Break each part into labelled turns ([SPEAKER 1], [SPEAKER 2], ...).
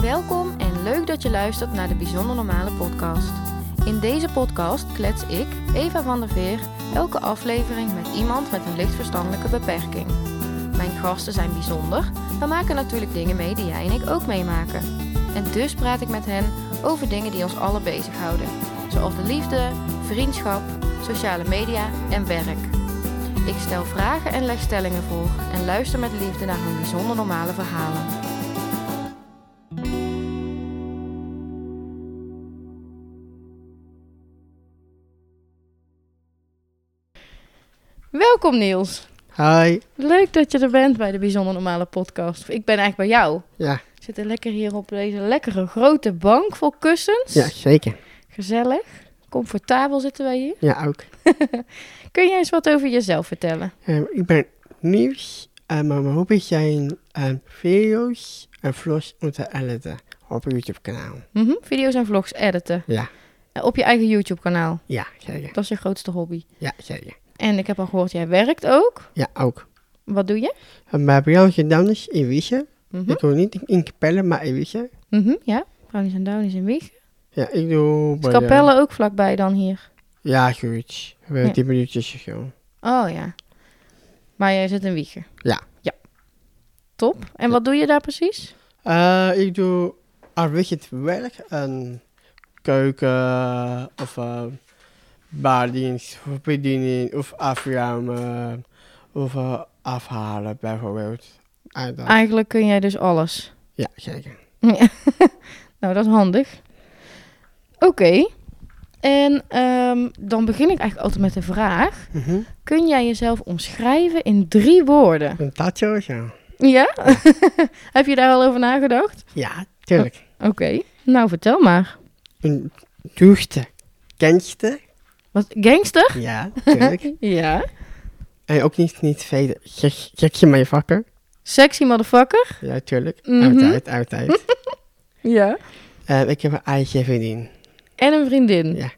[SPEAKER 1] Welkom en leuk dat je luistert naar de Bijzonder Normale Podcast. In deze podcast klets ik, Eva van der Veer, elke aflevering met iemand met een licht verstandelijke beperking. Mijn gasten zijn bijzonder, maar maken natuurlijk dingen mee die jij en ik ook meemaken. En dus praat ik met hen over dingen die ons allen bezighouden, zoals de liefde, vriendschap, sociale media en werk. Ik stel vragen en leg stellingen voor en luister met liefde naar hun bijzonder normale verhalen. Welkom Niels.
[SPEAKER 2] Hi.
[SPEAKER 1] Leuk dat je er bent bij de Bijzonder Normale Podcast. Ik ben eigenlijk bij jou.
[SPEAKER 2] Ja,
[SPEAKER 1] We zitten lekker hier op deze lekkere grote bank vol kussens.
[SPEAKER 2] ja zeker.
[SPEAKER 1] Gezellig. Comfortabel zitten wij hier.
[SPEAKER 2] Ja, ook.
[SPEAKER 1] Kun jij eens wat over jezelf vertellen?
[SPEAKER 2] Ehm, ik ben nieuws, en maar mijn hobby's zijn ehm, video's en vlogs om te editen op een YouTube-kanaal.
[SPEAKER 1] Mhm, Video's en vlogs editen.
[SPEAKER 2] Ja,
[SPEAKER 1] Eh, Op je eigen YouTube kanaal.
[SPEAKER 2] ja, zeker.
[SPEAKER 1] Dat is je grootste hobby.
[SPEAKER 2] Ja, zeker.
[SPEAKER 1] En ik heb al gehoord, jij werkt ook.
[SPEAKER 2] Ja, ook. Ehm,
[SPEAKER 1] Wat doe je?
[SPEAKER 2] En mijn briljant gedaan is in Wiesje.
[SPEAKER 1] Mhm.
[SPEAKER 2] Ik doe niet in- in Capelle, maar in Wiesje.
[SPEAKER 1] Mhm, ja, Brownies en Downies in Wieg.
[SPEAKER 2] Ja, ik doe...
[SPEAKER 1] Is
[SPEAKER 2] bij eh, de-
[SPEAKER 1] Capelle ook vlakbij dan hier?
[SPEAKER 2] Ja, zoiets. We hebben
[SPEAKER 1] Ja.
[SPEAKER 2] 10 minuutjes of zo.
[SPEAKER 1] Oh ja. Maar jij zit in Wiegen?
[SPEAKER 2] Ja.
[SPEAKER 1] Ja. Top. En wat doe je daar precies?
[SPEAKER 2] Eh, ik doe afwisselend werk en keuken of eh baardienst of bediening of afruimen of eh, afhalen bijvoorbeeld. En dat-
[SPEAKER 1] Eigenlijk kun jij dus alles.
[SPEAKER 2] Ja, zeker.
[SPEAKER 1] Ja. nou, dat is handig. Oké. En ehm, dan begin ik eigenlijk altijd met de vraag:
[SPEAKER 2] Mhm.
[SPEAKER 1] kun jij jezelf omschrijven in drie woorden?
[SPEAKER 2] En dat sowieso.
[SPEAKER 1] Ja? Heb je daar al over nagedacht?
[SPEAKER 2] Ja, Oh. tuurlijk.
[SPEAKER 1] Oké. Nou, vertel maar.
[SPEAKER 2] Een duurste. Kenste.
[SPEAKER 1] Wat, gangster?
[SPEAKER 2] Ja, tuurlijk.
[SPEAKER 1] Ja.
[SPEAKER 2] en ook niet, niet velen. Gek- Gekje mee vakken.
[SPEAKER 1] Sexy motherfucker?
[SPEAKER 2] Ja, tuurlijk.
[SPEAKER 1] Mhm.
[SPEAKER 2] Altijd, altijd.
[SPEAKER 1] Ja.
[SPEAKER 2] Eh, ik heb een eigen vriendin.
[SPEAKER 1] En een vriendin?
[SPEAKER 2] Ja.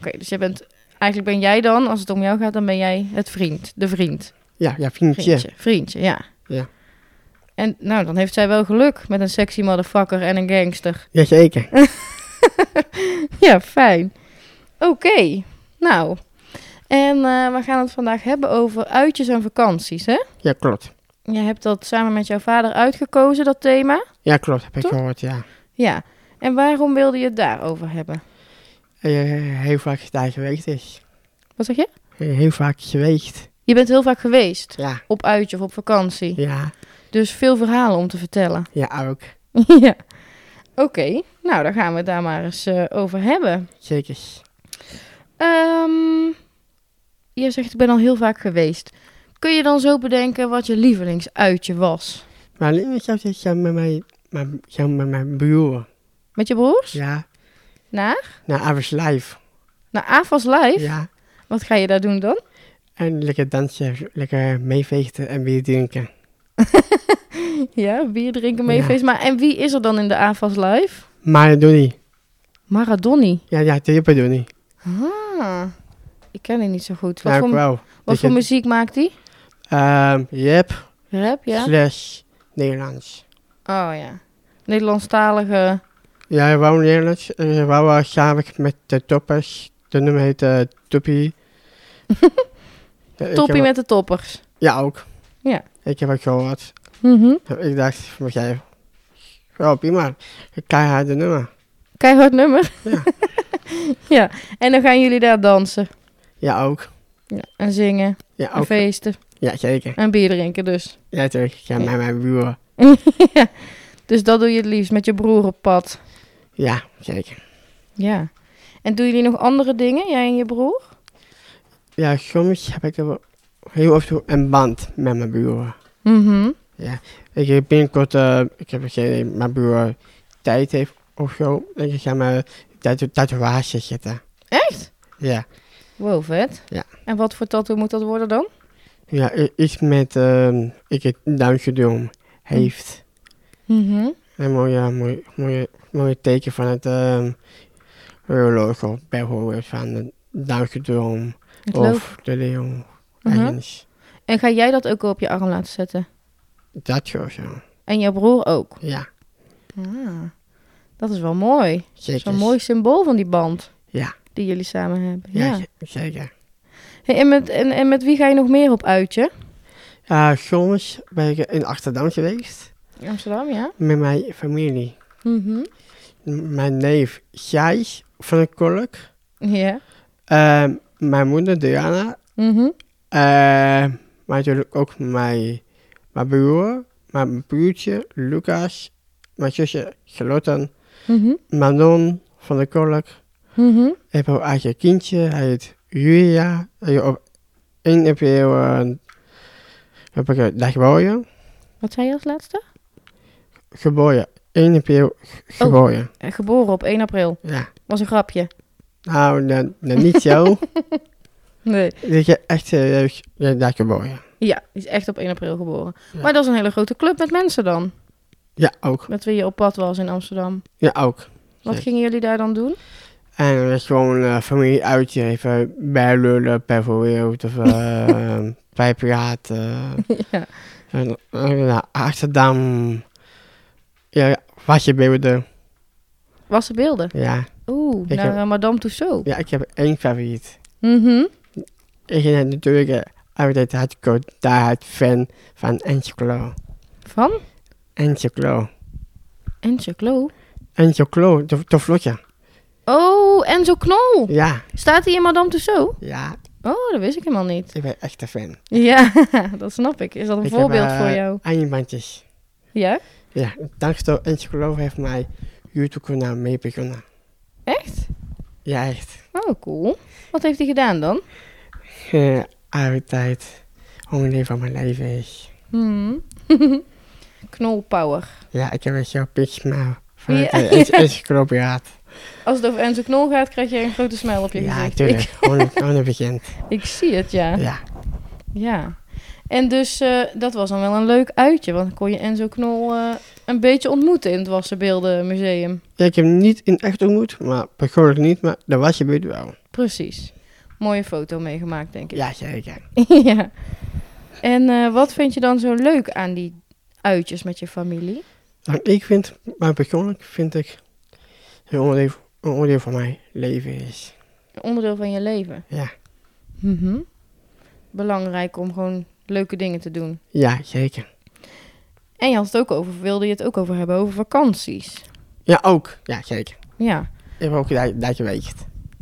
[SPEAKER 1] Oké, dus jij bent. Eigenlijk ben jij dan, als het om jou gaat, dan ben jij het vriend. De vriend.
[SPEAKER 2] Ja, ja, vriendje.
[SPEAKER 1] Vriendje. Vriendje, ja.
[SPEAKER 2] Ja.
[SPEAKER 1] En nou, dan heeft zij wel geluk met een sexy motherfucker en een gangster.
[SPEAKER 2] Jazeker.
[SPEAKER 1] Ja, fijn. Oké, nou. En eh, we gaan het vandaag hebben over uitjes en vakanties, hè?
[SPEAKER 2] Ja, klopt.
[SPEAKER 1] Jij hebt dat samen met jouw vader uitgekozen, dat thema.
[SPEAKER 2] Ja, klopt. Heb ik
[SPEAKER 1] Toch?
[SPEAKER 2] gehoord, ja.
[SPEAKER 1] Ja. En waarom wilde je het daarover hebben?
[SPEAKER 2] Eh, Heel vaak daar geweest is. Eh,
[SPEAKER 1] Wat zeg je?
[SPEAKER 2] Heel vaak geweest.
[SPEAKER 1] Je bent heel vaak geweest
[SPEAKER 2] Ja,
[SPEAKER 1] op uitje of op vakantie.
[SPEAKER 2] ja,
[SPEAKER 1] Dus veel verhalen om te vertellen.
[SPEAKER 2] ja, ook.
[SPEAKER 1] ja. Oké, nou dan gaan we het daar maar eens eh, over hebben.
[SPEAKER 2] Zeker.
[SPEAKER 1] Ehm je zegt, ik ben al heel vaak geweest. Kun je dan zo bedenken wat je lievelingsuitje was?
[SPEAKER 2] Maar alleen ik heb dit met mijn, mijn, samen met mijn broer.
[SPEAKER 1] Met je broers?
[SPEAKER 2] Ja,
[SPEAKER 1] Naar?
[SPEAKER 2] naar Avers Live.
[SPEAKER 1] Naar AFAS Live?
[SPEAKER 2] Ja.
[SPEAKER 1] Wat ga je daar doen dan?
[SPEAKER 2] En lekker dansen, lekker meevechten en bier drinken.
[SPEAKER 1] Ja, bier drinken,
[SPEAKER 2] Ja.
[SPEAKER 1] meefeest. Maar en wie is er dan in de AFAS Live?
[SPEAKER 2] Maar doe niet.
[SPEAKER 1] Maradoni.
[SPEAKER 2] Ja, ja, trippen doe niet.
[SPEAKER 1] Ah, ik ken die niet zo goed. Wat
[SPEAKER 2] Ja, ik
[SPEAKER 1] voor,
[SPEAKER 2] wel.
[SPEAKER 1] wat
[SPEAKER 2] Dus
[SPEAKER 1] voor
[SPEAKER 2] het-
[SPEAKER 1] muziek maakt die?
[SPEAKER 2] Ehm, Jep,
[SPEAKER 1] Rap, ja?
[SPEAKER 2] slash Nederlands.
[SPEAKER 1] Oh ja. Nederlandstalige...
[SPEAKER 2] Ja, ik wou Nederlands. En we wouden samen met de toppers. De nummer heet eh, Toppie. Ja, ik heb-
[SPEAKER 1] Toppie met de toppers.
[SPEAKER 2] Ja, ook.
[SPEAKER 1] Ja.
[SPEAKER 2] Ik heb ook gehoord.
[SPEAKER 1] Mhm.
[SPEAKER 2] Ik dacht van jij. Wel prima. Keihard de nummer.
[SPEAKER 1] Keihard nummer.
[SPEAKER 2] Ja.
[SPEAKER 1] ja. En dan gaan jullie daar dansen.
[SPEAKER 2] Ja, ook.
[SPEAKER 1] Ja. En zingen.
[SPEAKER 2] Ja,
[SPEAKER 1] En
[SPEAKER 2] ook.
[SPEAKER 1] feesten.
[SPEAKER 2] Ja, zeker.
[SPEAKER 1] En bier drinken dus.
[SPEAKER 2] Ja, natuurlijk. Ja,
[SPEAKER 1] Ja.
[SPEAKER 2] met mijn broer.
[SPEAKER 1] ja. Dus dat doe je het liefst met je broer op pad.
[SPEAKER 2] Ja, zeker.
[SPEAKER 1] Ja. En doen jullie nog andere dingen, jij en je broer?
[SPEAKER 2] Ja, soms heb ik er wel heel af en toe een band met mijn broer.
[SPEAKER 1] Mhm.
[SPEAKER 2] Ik heb binnenkort, eh, ik heb geen idee, mijn broer tijd heeft of zo. En ik ga mijn tatu tatoeage zitten.
[SPEAKER 1] Echt?
[SPEAKER 2] Ja.
[SPEAKER 1] Wow, vet.
[SPEAKER 2] Ja.
[SPEAKER 1] En wat voor tattoo moet dat worden dan?
[SPEAKER 2] Ja, i- iets met, ehm ik het Down syndroom heeft.
[SPEAKER 1] Mhm.
[SPEAKER 2] Een mooie, mooie, mooie, mooie teken van het ehm horloge, of bijvoorbeeld van de Duitse
[SPEAKER 1] Het loof.
[SPEAKER 2] of de leeuw.
[SPEAKER 1] Mhm.
[SPEAKER 2] ergens.
[SPEAKER 1] En ga jij dat ook op je arm laten zetten?
[SPEAKER 2] Dat soort zo.
[SPEAKER 1] En jouw broer ook?
[SPEAKER 2] Ja.
[SPEAKER 1] Ah. Dat is wel mooi.
[SPEAKER 2] Zeker.
[SPEAKER 1] Zo'n mooi symbool van die band
[SPEAKER 2] Ja,
[SPEAKER 1] die jullie samen hebben. Ja.
[SPEAKER 2] ja. ze- zeker.
[SPEAKER 1] Hey, en, met, en, en met wie ga je nog meer op uitje?
[SPEAKER 2] Eh, soms ben ik in Amsterdam geweest
[SPEAKER 1] In Amsterdam, ja.
[SPEAKER 2] met mijn familie.
[SPEAKER 1] Mhm.
[SPEAKER 2] M- mijn neef Gijs van het Kolk.
[SPEAKER 1] Ja.
[SPEAKER 2] eh, mijn moeder Diana.
[SPEAKER 1] Mhm.
[SPEAKER 2] eh, maar natuurlijk ook mijn, mijn broer, mijn broertje Lucas, mijn zusje Charlotte,
[SPEAKER 1] Mhm.
[SPEAKER 2] Manon van de Kolk.
[SPEAKER 1] Mhm.
[SPEAKER 2] Ik heb een eigen kindje, hij heet Julia. En op 1 april eh, heb ik eh, daar geboren.
[SPEAKER 1] Wat zei je als laatste?
[SPEAKER 2] Geboren. 1 april g- geboren.
[SPEAKER 1] Eh, geboren op 1 april.
[SPEAKER 2] Ja.
[SPEAKER 1] Was een grapje.
[SPEAKER 2] Nou, dan, dan niet zo.
[SPEAKER 1] Nee.
[SPEAKER 2] Ik heb echt serieus eh, daar geboren.
[SPEAKER 1] Ja, die is echt op 1 april geboren.
[SPEAKER 2] Ja.
[SPEAKER 1] Maar dat is een hele grote club met mensen dan.
[SPEAKER 2] Ja, ook.
[SPEAKER 1] Met wie je op pad was in Amsterdam.
[SPEAKER 2] Ja, ook.
[SPEAKER 1] Wat
[SPEAKER 2] Ja.
[SPEAKER 1] gingen jullie daar dan doen?
[SPEAKER 2] En dat is gewoon eh familie uitje, even bijlullen, bijvoorbeeld. Of eh, bij piraten.
[SPEAKER 1] Ja.
[SPEAKER 2] En, eh, naar Amsterdam. Ja, was je beelden.
[SPEAKER 1] Was de beelden?
[SPEAKER 2] Ja.
[SPEAKER 1] Oeh,
[SPEAKER 2] Ik
[SPEAKER 1] naar
[SPEAKER 2] heb-
[SPEAKER 1] eh, Madame Tussauds.
[SPEAKER 2] ja, ik heb één favoriet.
[SPEAKER 1] Mhm.
[SPEAKER 2] Ik ben natuurlijk eh, altijd hardcore daaruit fan van Encyclo.
[SPEAKER 1] Van?
[SPEAKER 2] Encyclo.
[SPEAKER 1] Enzo Knol.
[SPEAKER 2] Encyclo, de, de vlotje.
[SPEAKER 1] Oh, Enzo Knol.
[SPEAKER 2] Ja,
[SPEAKER 1] Staat hij in Madame Tussauds?
[SPEAKER 2] ja,
[SPEAKER 1] Oh, dat wist ik helemaal niet.
[SPEAKER 2] ik ben echt een fan.
[SPEAKER 1] Ja, dat snap ik. Is dat een
[SPEAKER 2] Ik heb,
[SPEAKER 1] voorbeeld
[SPEAKER 2] eh,
[SPEAKER 1] voor jou?
[SPEAKER 2] Eindbandjes.
[SPEAKER 1] Ja?
[SPEAKER 2] Ja, dankzij Encyclo heeft mijn YouTube-kanaal mee begonnen.
[SPEAKER 1] Echt?
[SPEAKER 2] Ja, echt.
[SPEAKER 1] Oh, cool. Wat heeft hij gedaan dan?
[SPEAKER 2] Eh, Altijd. Honger van mijn leven is.
[SPEAKER 1] Hmm. Knolpower.
[SPEAKER 2] Ja, ik heb een zo'n big smile. Van
[SPEAKER 1] Ja.
[SPEAKER 2] het eh, Enz- Encyclo-piraat.
[SPEAKER 1] Als het over Enzo Knol gaat, krijg je een grote smile op je
[SPEAKER 2] Ja,
[SPEAKER 1] gezicht.
[SPEAKER 2] natuurlijk. Gewoon gewoon een begin.
[SPEAKER 1] Ik, ik zie het, ja. Ja.
[SPEAKER 2] Ja,
[SPEAKER 1] En dus, eh, dat was dan wel een leuk uitje. Want dan kon je Enzo Knol eh, een beetje ontmoeten in het Wassenbeeldenmuseum.
[SPEAKER 2] ik heb hem niet in echt ontmoet, maar persoonlijk niet, maar dat was je buurt wel.
[SPEAKER 1] Precies. Mooie foto meegemaakt, denk ik.
[SPEAKER 2] Ja, zeker.
[SPEAKER 1] ja. En eh, wat vind je dan zo leuk aan die uitjes met je familie?
[SPEAKER 2] Want ik vind, maar persoonlijk vind ik, een onderdeel, een onderdeel van mijn leven is.
[SPEAKER 1] Een onderdeel van je leven.
[SPEAKER 2] Ja,
[SPEAKER 1] Mhm. Belangrijk om gewoon leuke dingen te doen.
[SPEAKER 2] ja zeker.
[SPEAKER 1] En je had het ook over, wilde je het ook over hebben, over vakanties.
[SPEAKER 2] Ja, ook. Ja, zeker.
[SPEAKER 1] Ja.
[SPEAKER 2] Ik heb ook daar, daar geweest.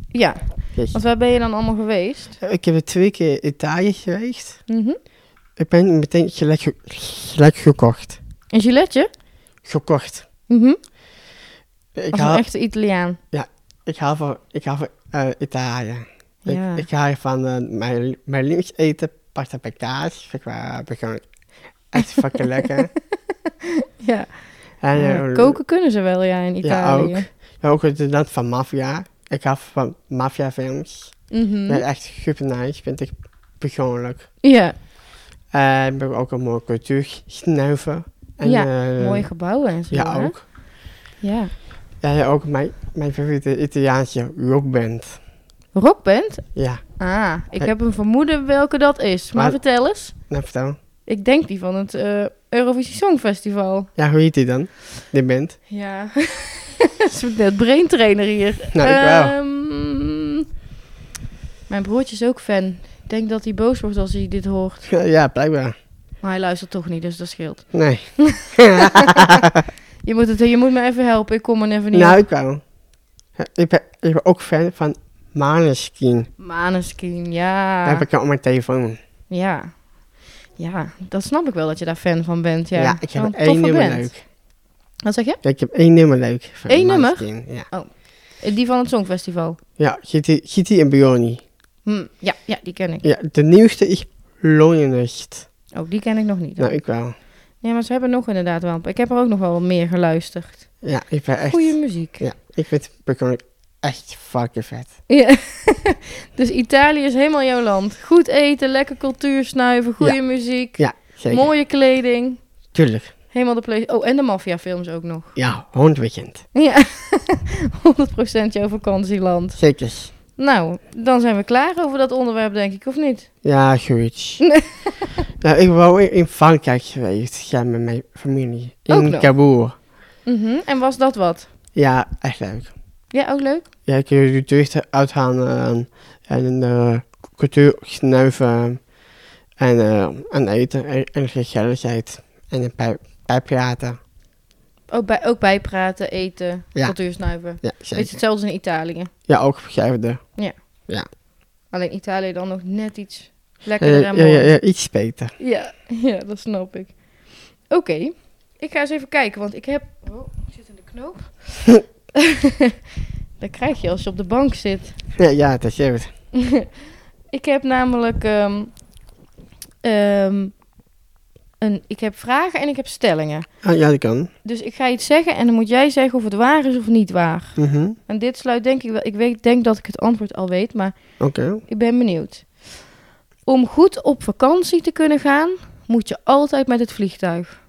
[SPEAKER 1] Ja.
[SPEAKER 2] Jeetje.
[SPEAKER 1] Want waar ben je dan allemaal geweest?
[SPEAKER 2] Ik heb er twee keer Italië geweest.
[SPEAKER 1] Mhm.
[SPEAKER 2] Ik ben meteen gelijk, ge- gelijk gekocht.
[SPEAKER 1] Een giletje?
[SPEAKER 2] Gekocht.
[SPEAKER 1] Mhm.
[SPEAKER 2] Ik
[SPEAKER 1] Als een
[SPEAKER 2] haal,
[SPEAKER 1] echte Italiaan.
[SPEAKER 2] ik haal van, ik haal van eh, Italië.
[SPEAKER 1] Ja.
[SPEAKER 2] Ik, ik haal van eh, mijn, mijn lievelingseten, pasta per kaas. Vind ik wel persoonlijk echt fucking lekker.
[SPEAKER 1] ja.
[SPEAKER 2] En,
[SPEAKER 1] Ja,
[SPEAKER 2] eh,
[SPEAKER 1] Koken kunnen ze wel, ja, in Italië.
[SPEAKER 2] Ja, ook. Ja, ook het land van maffia. Ik hou van maffiafilms.
[SPEAKER 1] Mhm.
[SPEAKER 2] Dat is echt super nice, vind ik persoonlijk.
[SPEAKER 1] Ja.
[SPEAKER 2] En ik heb ook een mooie cultuur snuiven. En,
[SPEAKER 1] Ja,
[SPEAKER 2] eh,
[SPEAKER 1] Mooie gebouwen en zo.
[SPEAKER 2] Ja,
[SPEAKER 1] hè?
[SPEAKER 2] ook.
[SPEAKER 1] Ja.
[SPEAKER 2] Ja, ja, ook mijn, mijn favoriete Italiaanse rockband.
[SPEAKER 1] Rockband?
[SPEAKER 2] Ja,
[SPEAKER 1] Ah, ik
[SPEAKER 2] Hey.
[SPEAKER 1] heb een vermoeden welke dat is. Maar,
[SPEAKER 2] Maar-
[SPEAKER 1] vertel eens.
[SPEAKER 2] nou vertel.
[SPEAKER 1] Ik denk die van het eh, Eurovisie Songfestival.
[SPEAKER 2] Ja, hoe heet die dan? Die band?
[SPEAKER 1] Ja. Dat is net brain trainer hier.
[SPEAKER 2] Nou, ik wel.
[SPEAKER 1] Ehm, mijn broertje is ook fan. Ik denk dat hij boos wordt als hij dit hoort.
[SPEAKER 2] ja, blijkbaar.
[SPEAKER 1] Maar hij luistert toch niet, dus dat scheelt.
[SPEAKER 2] Nee.
[SPEAKER 1] Je moet, het, je moet me even helpen, ik kom er even niet
[SPEAKER 2] nou,
[SPEAKER 1] op.
[SPEAKER 2] ik wel. Ja, Ik ben, ik ben ook fan van Maneskin.
[SPEAKER 1] Maneskin, ja.
[SPEAKER 2] Dat heb ik al op mijn telefoon.
[SPEAKER 1] Ja. Ja, dat snap ik wel dat je daar fan van bent. Ja,
[SPEAKER 2] Ja, ik heb
[SPEAKER 1] Wel een
[SPEAKER 2] één
[SPEAKER 1] toffe
[SPEAKER 2] nummer
[SPEAKER 1] band.
[SPEAKER 2] leuk.
[SPEAKER 1] Wat zeg je?
[SPEAKER 2] Ja, ik heb één nummer leuk. van
[SPEAKER 1] Eén nummer?
[SPEAKER 2] Maneskin, Ja.
[SPEAKER 1] Eh, Die van het Songfestival.
[SPEAKER 2] Ja, GT, GT en Bioni.
[SPEAKER 1] Hm, ja, ja, die ken ik.
[SPEAKER 2] Ja, de nieuwste is Lionist.
[SPEAKER 1] Oh, die ken ik nog niet.
[SPEAKER 2] Nou, ik wel.
[SPEAKER 1] Nee, maar ze hebben nog inderdaad wel... een paar- Ik heb er ook nog wel wat meer geluisterd.
[SPEAKER 2] Ja, ik ben echt...
[SPEAKER 1] Goeie muziek.
[SPEAKER 2] Ja, ik vind het persoonlijk echt fucking vet.
[SPEAKER 1] Ja. dus Italië is helemaal jouw land. Goed eten, lekker cultuur snuiven, goede muziek,
[SPEAKER 2] Ja, zeker.
[SPEAKER 1] mooie kleding.
[SPEAKER 2] Tuurlijk.
[SPEAKER 1] Helemaal de place. Oh, en de maffiafilms ook nog.
[SPEAKER 2] Ja, hondweekend.
[SPEAKER 1] Ja, 100% jouw vakantieland.
[SPEAKER 2] Zeker.
[SPEAKER 1] Nou, dan zijn we klaar over dat onderwerp, denk ik, of niet?
[SPEAKER 2] Ja, zoiets. nou, ik ben wel in in Frankrijk geweest, ja, met mijn familie.
[SPEAKER 1] Ook
[SPEAKER 2] In
[SPEAKER 1] nog?
[SPEAKER 2] Kabul.
[SPEAKER 1] Mhm. En was dat wat?
[SPEAKER 2] Ja, echt leuk.
[SPEAKER 1] Ja, ook leuk?
[SPEAKER 2] Ja, ik kun je de toeristen uitgaan eh, en de cultuur snuiven en, eh, en eten en, en gezelligheid en een pijp, pijppraten.
[SPEAKER 1] Ook, bij, ook bijpraten, eten,
[SPEAKER 2] Ja.
[SPEAKER 1] cultuur snuiven.
[SPEAKER 2] Ja,
[SPEAKER 1] Weet je,
[SPEAKER 2] zeker.
[SPEAKER 1] hetzelfde als in Italië.
[SPEAKER 2] Ja, ook gezelligde.
[SPEAKER 1] Alleen Italië dan nog net iets
[SPEAKER 2] Ja,
[SPEAKER 1] lekkerder
[SPEAKER 2] Eh, ja,
[SPEAKER 1] en
[SPEAKER 2] ja,
[SPEAKER 1] mooier.
[SPEAKER 2] ja, iets beter.
[SPEAKER 1] Ja, ja, dat snap ik. Oké, ik ga eens even kijken, want ik heb... Oh, ik zit in de knoop. dat krijg je als je op de bank zit.
[SPEAKER 2] Ja, ja, dat is het.
[SPEAKER 1] ik heb namelijk... ehm, ehm, een, ik heb vragen en ik heb stellingen.
[SPEAKER 2] Ah, ja, dat kan.
[SPEAKER 1] Dus ik ga iets zeggen en dan moet jij zeggen of het waar is of niet waar.
[SPEAKER 2] Mhm.
[SPEAKER 1] En dit sluit denk ik wel... Ik weet, denk dat ik het antwoord al weet, maar
[SPEAKER 2] Oké.
[SPEAKER 1] ik ben benieuwd. Om goed op vakantie te kunnen gaan, moet je altijd met het vliegtuig.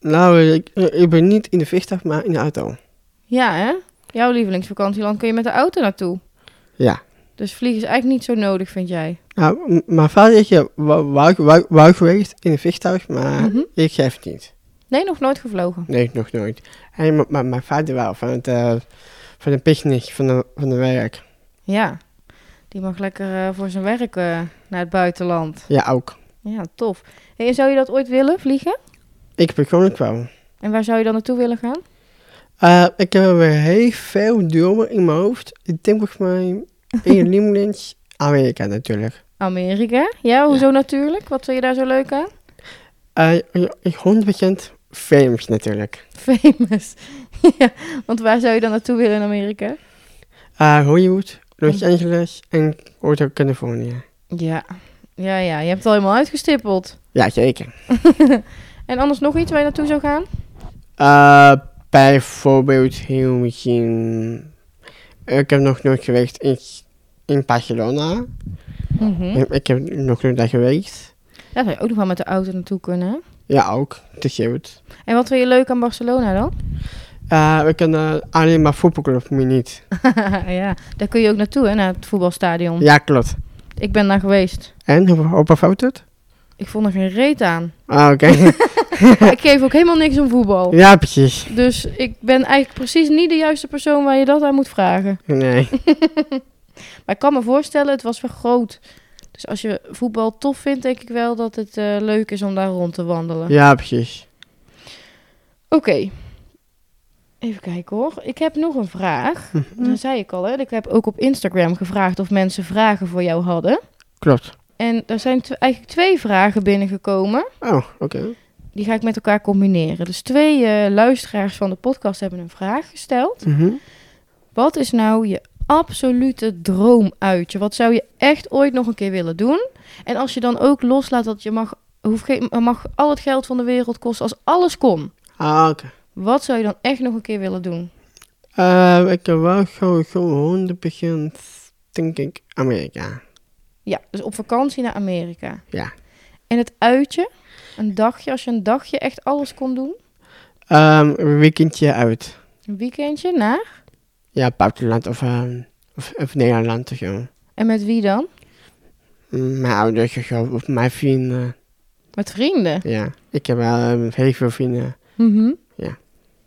[SPEAKER 2] Nou, ik, ik ben niet in de vliegtuig, maar in de auto.
[SPEAKER 1] Ja, hè? Jouw lievelingsvakantieland kun je met de auto naartoe.
[SPEAKER 2] Ja.
[SPEAKER 1] Dus vliegen is eigenlijk niet zo nodig, vind jij?
[SPEAKER 2] Nou, m- mijn vader is hier wou, wou, wou- wou geweest in de vliegtuig, maar
[SPEAKER 1] Mhm.
[SPEAKER 2] ik geef het niet.
[SPEAKER 1] Nee, nog nooit gevlogen.
[SPEAKER 2] Nee, nog nooit. En m- m- mijn vader wel, van, het, eh, van de picknick, van de, van de werk.
[SPEAKER 1] Ja. Die mag lekker eh, voor zijn werk eh, naar het buitenland.
[SPEAKER 2] Ja, ook.
[SPEAKER 1] Ja, tof. Hey, en zou je dat ooit willen, vliegen?
[SPEAKER 2] Ik persoonlijk wel.
[SPEAKER 1] En waar zou je dan naartoe willen gaan?
[SPEAKER 2] Eh, ik heb weer heel veel dromen in mijn hoofd. Ik denk volgens mij in Limelins, Amerika natuurlijk.
[SPEAKER 1] Amerika? Ja, hoezo natuurlijk? Wat vind je daar zo leuk aan?
[SPEAKER 2] Eh, ik 100% films natuurlijk.
[SPEAKER 1] Famous. ja, want waar zou je dan naartoe willen in Amerika?
[SPEAKER 2] Eh, Hollywood, Los Angeles en Hotel Californië.
[SPEAKER 1] Ja. Ja, ja, je hebt het al helemaal uitgestippeld.
[SPEAKER 2] Ja, zeker.
[SPEAKER 1] En anders nog iets waar je naartoe zou gaan?
[SPEAKER 2] Eh, bijvoorbeeld heel misschien... Ik heb nog nooit geweest in, in Barcelona.
[SPEAKER 1] Hm?
[SPEAKER 2] Ik- Ik heb nog nooit daar geweest.
[SPEAKER 1] Daar zou je ook nog wel met de auto naartoe kunnen. hè?
[SPEAKER 2] Ja, ook. Het is goed.
[SPEAKER 1] En wat vind je leuk aan Barcelona dan?
[SPEAKER 2] Eh, we kunnen alleen maar voetbalclub, meer niet.
[SPEAKER 1] ja, daar kun je ook naartoe, hè, naar het voetbalstadion.
[SPEAKER 2] Ja, klopt.
[SPEAKER 1] Ik ben daar geweest.
[SPEAKER 2] En, hoe- hoeveel fout het?
[SPEAKER 1] Ik vond er geen reet aan.
[SPEAKER 2] Ah, oké.
[SPEAKER 1] ik geef ook helemaal niks om voetbal.
[SPEAKER 2] ja, precies.
[SPEAKER 1] Dus ik ben eigenlijk precies niet de juiste persoon waar je dat aan moet vragen.
[SPEAKER 2] Nee.
[SPEAKER 1] Maar ik kan me voorstellen, het was wel groot. Dus als je voetbal tof vindt, denk ik wel dat het eh, leuk is om daar rond te wandelen.
[SPEAKER 2] Ja, precies.
[SPEAKER 1] Oké. Even kijken hoor. Ik heb nog een vraag. Dat zei ik al, hè. Ik heb ook op Instagram gevraagd of mensen vragen voor jou hadden.
[SPEAKER 2] Klopt.
[SPEAKER 1] En er zijn tw- eigenlijk twee vragen binnengekomen.
[SPEAKER 2] Oh, oké.
[SPEAKER 1] Die ga ik met elkaar combineren. Dus twee eh, luisteraars van de podcast hebben een vraag gesteld.
[SPEAKER 2] Mhm.
[SPEAKER 1] Wat is nou je absolute droomuitje? Wat zou je echt ooit nog een keer willen doen? En als je dan ook loslaat dat je mag, hoeft geen, mag al het geld van de wereld kosten, als alles kon.
[SPEAKER 2] Ah, oké.
[SPEAKER 1] Wat zou je dan echt nog een keer willen doen?
[SPEAKER 2] Eh, ik heb wel gewoon 100% denk ik Amerika.
[SPEAKER 1] Ja, dus op vakantie naar Amerika.
[SPEAKER 2] Ja.
[SPEAKER 1] En het uitje, een dagje, als je een dagje echt alles kon doen.
[SPEAKER 2] Ehm, een weekendje uit.
[SPEAKER 1] Een weekendje, na.
[SPEAKER 2] Ja, buitenland of, ehm, of, of Nederland of zo.
[SPEAKER 1] En met wie dan?
[SPEAKER 2] Mm, Mijn ouders of zo, of mijn vrienden.
[SPEAKER 1] Met vrienden.
[SPEAKER 2] Ja, ik heb wel ehm, heel veel vrienden.
[SPEAKER 1] Mhm.
[SPEAKER 2] Ja.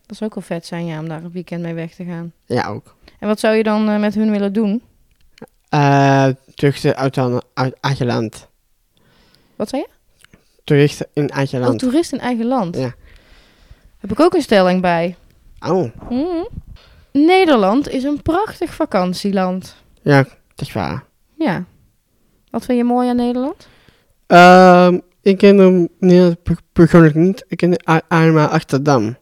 [SPEAKER 1] Dat zou ook wel vet zijn, ja, om daar een weekend mee weg te gaan.
[SPEAKER 2] Ja, ook.
[SPEAKER 1] En wat zou je dan eh, met hun willen doen?
[SPEAKER 2] Eh toeristen uit, aan- uit eigen land.
[SPEAKER 1] Wat zei je?
[SPEAKER 2] Toeristen in eigen
[SPEAKER 1] Oh,
[SPEAKER 2] land.
[SPEAKER 1] toerist in eigen land.
[SPEAKER 2] Ja.
[SPEAKER 1] Heb ik ook een stelling bij.
[SPEAKER 2] Oh,
[SPEAKER 1] Mhm. Nederland is een prachtig vakantieland.
[SPEAKER 2] ja, dat is waar.
[SPEAKER 1] Ja. Wat vind je mooi aan Nederland?
[SPEAKER 2] Ehm, ik ken hem nee, per- persoonlijk niet. Ik ken a- alleen maar Amsterdam.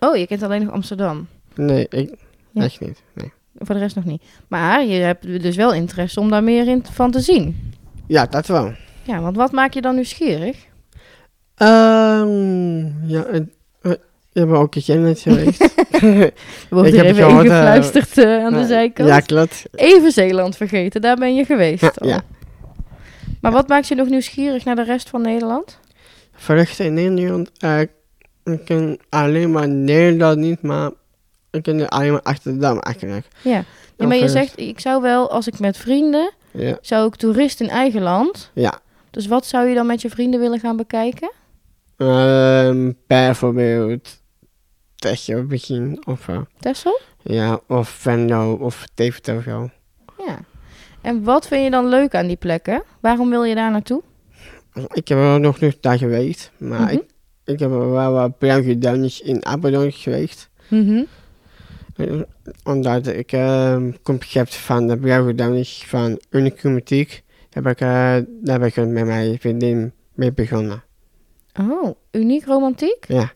[SPEAKER 1] Oh, je kent alleen nog Amsterdam.
[SPEAKER 2] Nee, ik,
[SPEAKER 1] Ja.
[SPEAKER 2] echt niet. Nee.
[SPEAKER 1] Voor de rest nog niet. Maar je hebt dus wel interesse om daar meer in, van te zien.
[SPEAKER 2] Ja, dat wel.
[SPEAKER 1] Ja, want wat maakt je dan nieuwsgierig?
[SPEAKER 2] Ehm ja, en, eh, je hebt ook een net geweest.
[SPEAKER 1] Er wordt
[SPEAKER 2] Ik
[SPEAKER 1] hier
[SPEAKER 2] heb
[SPEAKER 1] even
[SPEAKER 2] gehoord, eh,
[SPEAKER 1] ingefluisterd eh, aan de
[SPEAKER 2] Nou,
[SPEAKER 1] zijkant.
[SPEAKER 2] Ja, klopt.
[SPEAKER 1] Even Zeeland vergeten, daar ben je geweest.
[SPEAKER 2] Ja,
[SPEAKER 1] al.
[SPEAKER 2] ja.
[SPEAKER 1] Maar wat maakt je nog nieuwsgierig naar de rest van Nederland?
[SPEAKER 2] Vluchten in Nederland. eh, ik ken alleen maar Nederland niet, maar ik ken alleen maar Amsterdam eigenlijk.
[SPEAKER 1] Ja,
[SPEAKER 2] Ja,
[SPEAKER 1] maar je
[SPEAKER 2] verder-
[SPEAKER 1] zegt, ik zou wel, als ik met vrienden,
[SPEAKER 2] Ja,
[SPEAKER 1] zou ik toerist in eigen land.
[SPEAKER 2] ja.
[SPEAKER 1] Dus wat zou je dan met je vrienden willen gaan bekijken?
[SPEAKER 2] Ehm, bijvoorbeeld testje misschien. Of, eh,
[SPEAKER 1] Tessel?
[SPEAKER 2] ja, of Venlo of David of zo.
[SPEAKER 1] Ja. En wat vind je dan leuk aan die plekken? Waarom wil je daar naartoe?
[SPEAKER 2] Ik heb er nog nooit daar geweest, maar
[SPEAKER 1] Mhm.
[SPEAKER 2] ik, ik heb er wel wat bruine duinjes in Apeldoorn geweest.
[SPEAKER 1] Mhm.
[SPEAKER 2] Eh, Omdat ik eh, concept van de bruine duinjes van Unicumatiek, heb ik, eh, daar ben ik met mijn vriendin mee begonnen.
[SPEAKER 1] Oh, uniek romantiek?
[SPEAKER 2] Ja.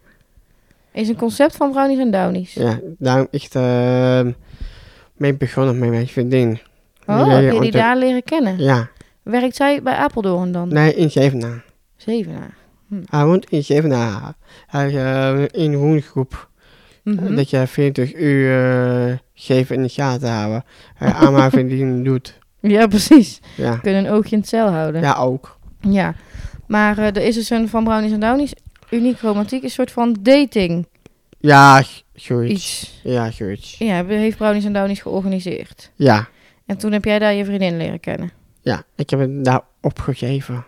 [SPEAKER 1] Is een concept van brownies en downies.
[SPEAKER 2] Ja, daarom ik eh mee begonnen met mijn vriendin.
[SPEAKER 1] Oh,
[SPEAKER 2] Ja,
[SPEAKER 1] heb je die
[SPEAKER 2] ontdek-
[SPEAKER 1] daar leren kennen?
[SPEAKER 2] Ja,
[SPEAKER 1] Werkt zij bij Apeldoorn dan?
[SPEAKER 2] nee, in Zevenaar.
[SPEAKER 1] Zevenaar.
[SPEAKER 2] Hij woont in Zevenaar. Hij eh, in een woongroep.
[SPEAKER 1] Mhm.
[SPEAKER 2] Oh, Dat je 24 uur eh, geven in de gaten houden. eh, Hij allemaal verdienen doet.
[SPEAKER 1] Ja, precies.
[SPEAKER 2] Ja.
[SPEAKER 1] Kunnen een oogje in het zeil houden.
[SPEAKER 2] ja, ook.
[SPEAKER 1] Ja. Maar eh, er is dus een van brownies en downies. Uniek romantiek is een soort van dating
[SPEAKER 2] Ja, g- zoiets.
[SPEAKER 1] iets.
[SPEAKER 2] Ja, zoiets.
[SPEAKER 1] Ja, heeft brownies en downies georganiseerd.
[SPEAKER 2] Ja,
[SPEAKER 1] En toen heb jij daar je vriendin leren kennen.
[SPEAKER 2] ja. Ik heb het daar opgegeven.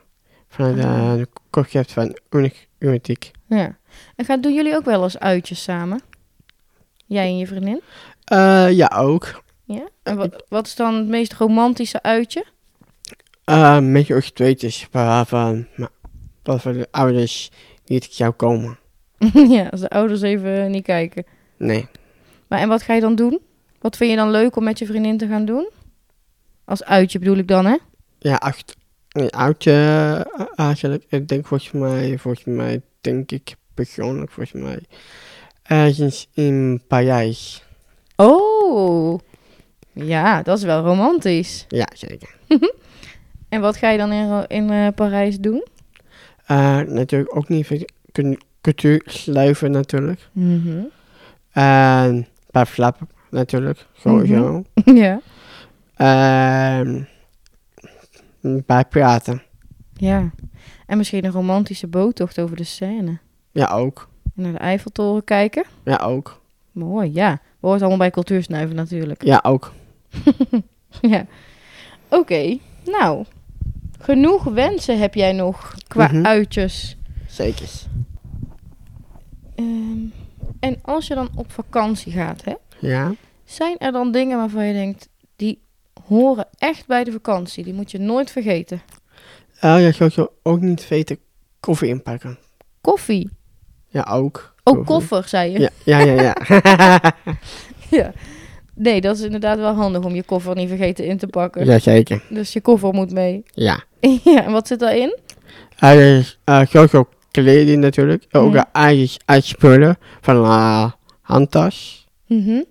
[SPEAKER 2] Vanuit eh, het concept van Unic Unitiek.
[SPEAKER 1] Ja. En gaan, doen jullie ook wel eens uitjes samen? Jij en je vriendin?
[SPEAKER 2] Eh, ja, ook.
[SPEAKER 1] Ja. En wat, wat is dan het meest romantische uitje?
[SPEAKER 2] Eh, met je ook tweetjes waarvan maar- waarvan de ouders niet zou komen.
[SPEAKER 1] ja, als de ouders even niet kijken.
[SPEAKER 2] Nee.
[SPEAKER 1] Maar en wat ga je dan doen? Wat vind je dan leuk om met je vriendin te gaan doen? Als uitje bedoel ik dan, hè?
[SPEAKER 2] Ja, acht. Nee, oudje eh, eigenlijk. Ik denk volgens mij, volgens mij, denk ik persoonlijk, volgens mij. Ergens in Parijs.
[SPEAKER 1] Oh, ja, dat is wel romantisch.
[SPEAKER 2] Ja, zeker.
[SPEAKER 1] En wat ga je dan in, Ro- in eh, Parijs doen?
[SPEAKER 2] Eh, natuurlijk ook niet ver- kun- cultuur sluiven natuurlijk.
[SPEAKER 1] Mhm.
[SPEAKER 2] En bij Flap natuurlijk, sowieso.
[SPEAKER 1] ja.
[SPEAKER 2] Ehm, bij praten.
[SPEAKER 1] ja. En misschien een romantische boottocht over de Seine.
[SPEAKER 2] Ja, ook.
[SPEAKER 1] En naar de Eiffeltoren kijken.
[SPEAKER 2] Ja, ook.
[SPEAKER 1] Mooi, ja. Hoort allemaal bij cultuursnuiven natuurlijk.
[SPEAKER 2] Ja, ook.
[SPEAKER 1] ja. Oké, nou. Genoeg wensen heb jij nog qua
[SPEAKER 2] Mhm.
[SPEAKER 1] uitjes.
[SPEAKER 2] Zeker.
[SPEAKER 1] Ehm, en als je dan op vakantie gaat, hè,
[SPEAKER 2] Ja.
[SPEAKER 1] zijn er dan dingen waarvan je denkt, die horen echt bij de vakantie. Die moet je nooit vergeten.
[SPEAKER 2] Oh, ja, sowieso ook niet weten koffie inpakken.
[SPEAKER 1] Koffie.
[SPEAKER 2] Ja, ook.
[SPEAKER 1] Oh, koffer, zei je.
[SPEAKER 2] Ja, ja, ja. ja.
[SPEAKER 1] Ja. Nee, dat is inderdaad wel handig om je koffer niet vergeten in te pakken.
[SPEAKER 2] ja zeker.
[SPEAKER 1] Dus je koffer moet mee.
[SPEAKER 2] Ja.
[SPEAKER 1] ja, en wat zit daarin?
[SPEAKER 2] Ah, Er is eh, sowieso kleding natuurlijk. Ook
[SPEAKER 1] Ja.
[SPEAKER 2] ja. eigen, eigen spullen van eh, handtas.
[SPEAKER 1] Mhm.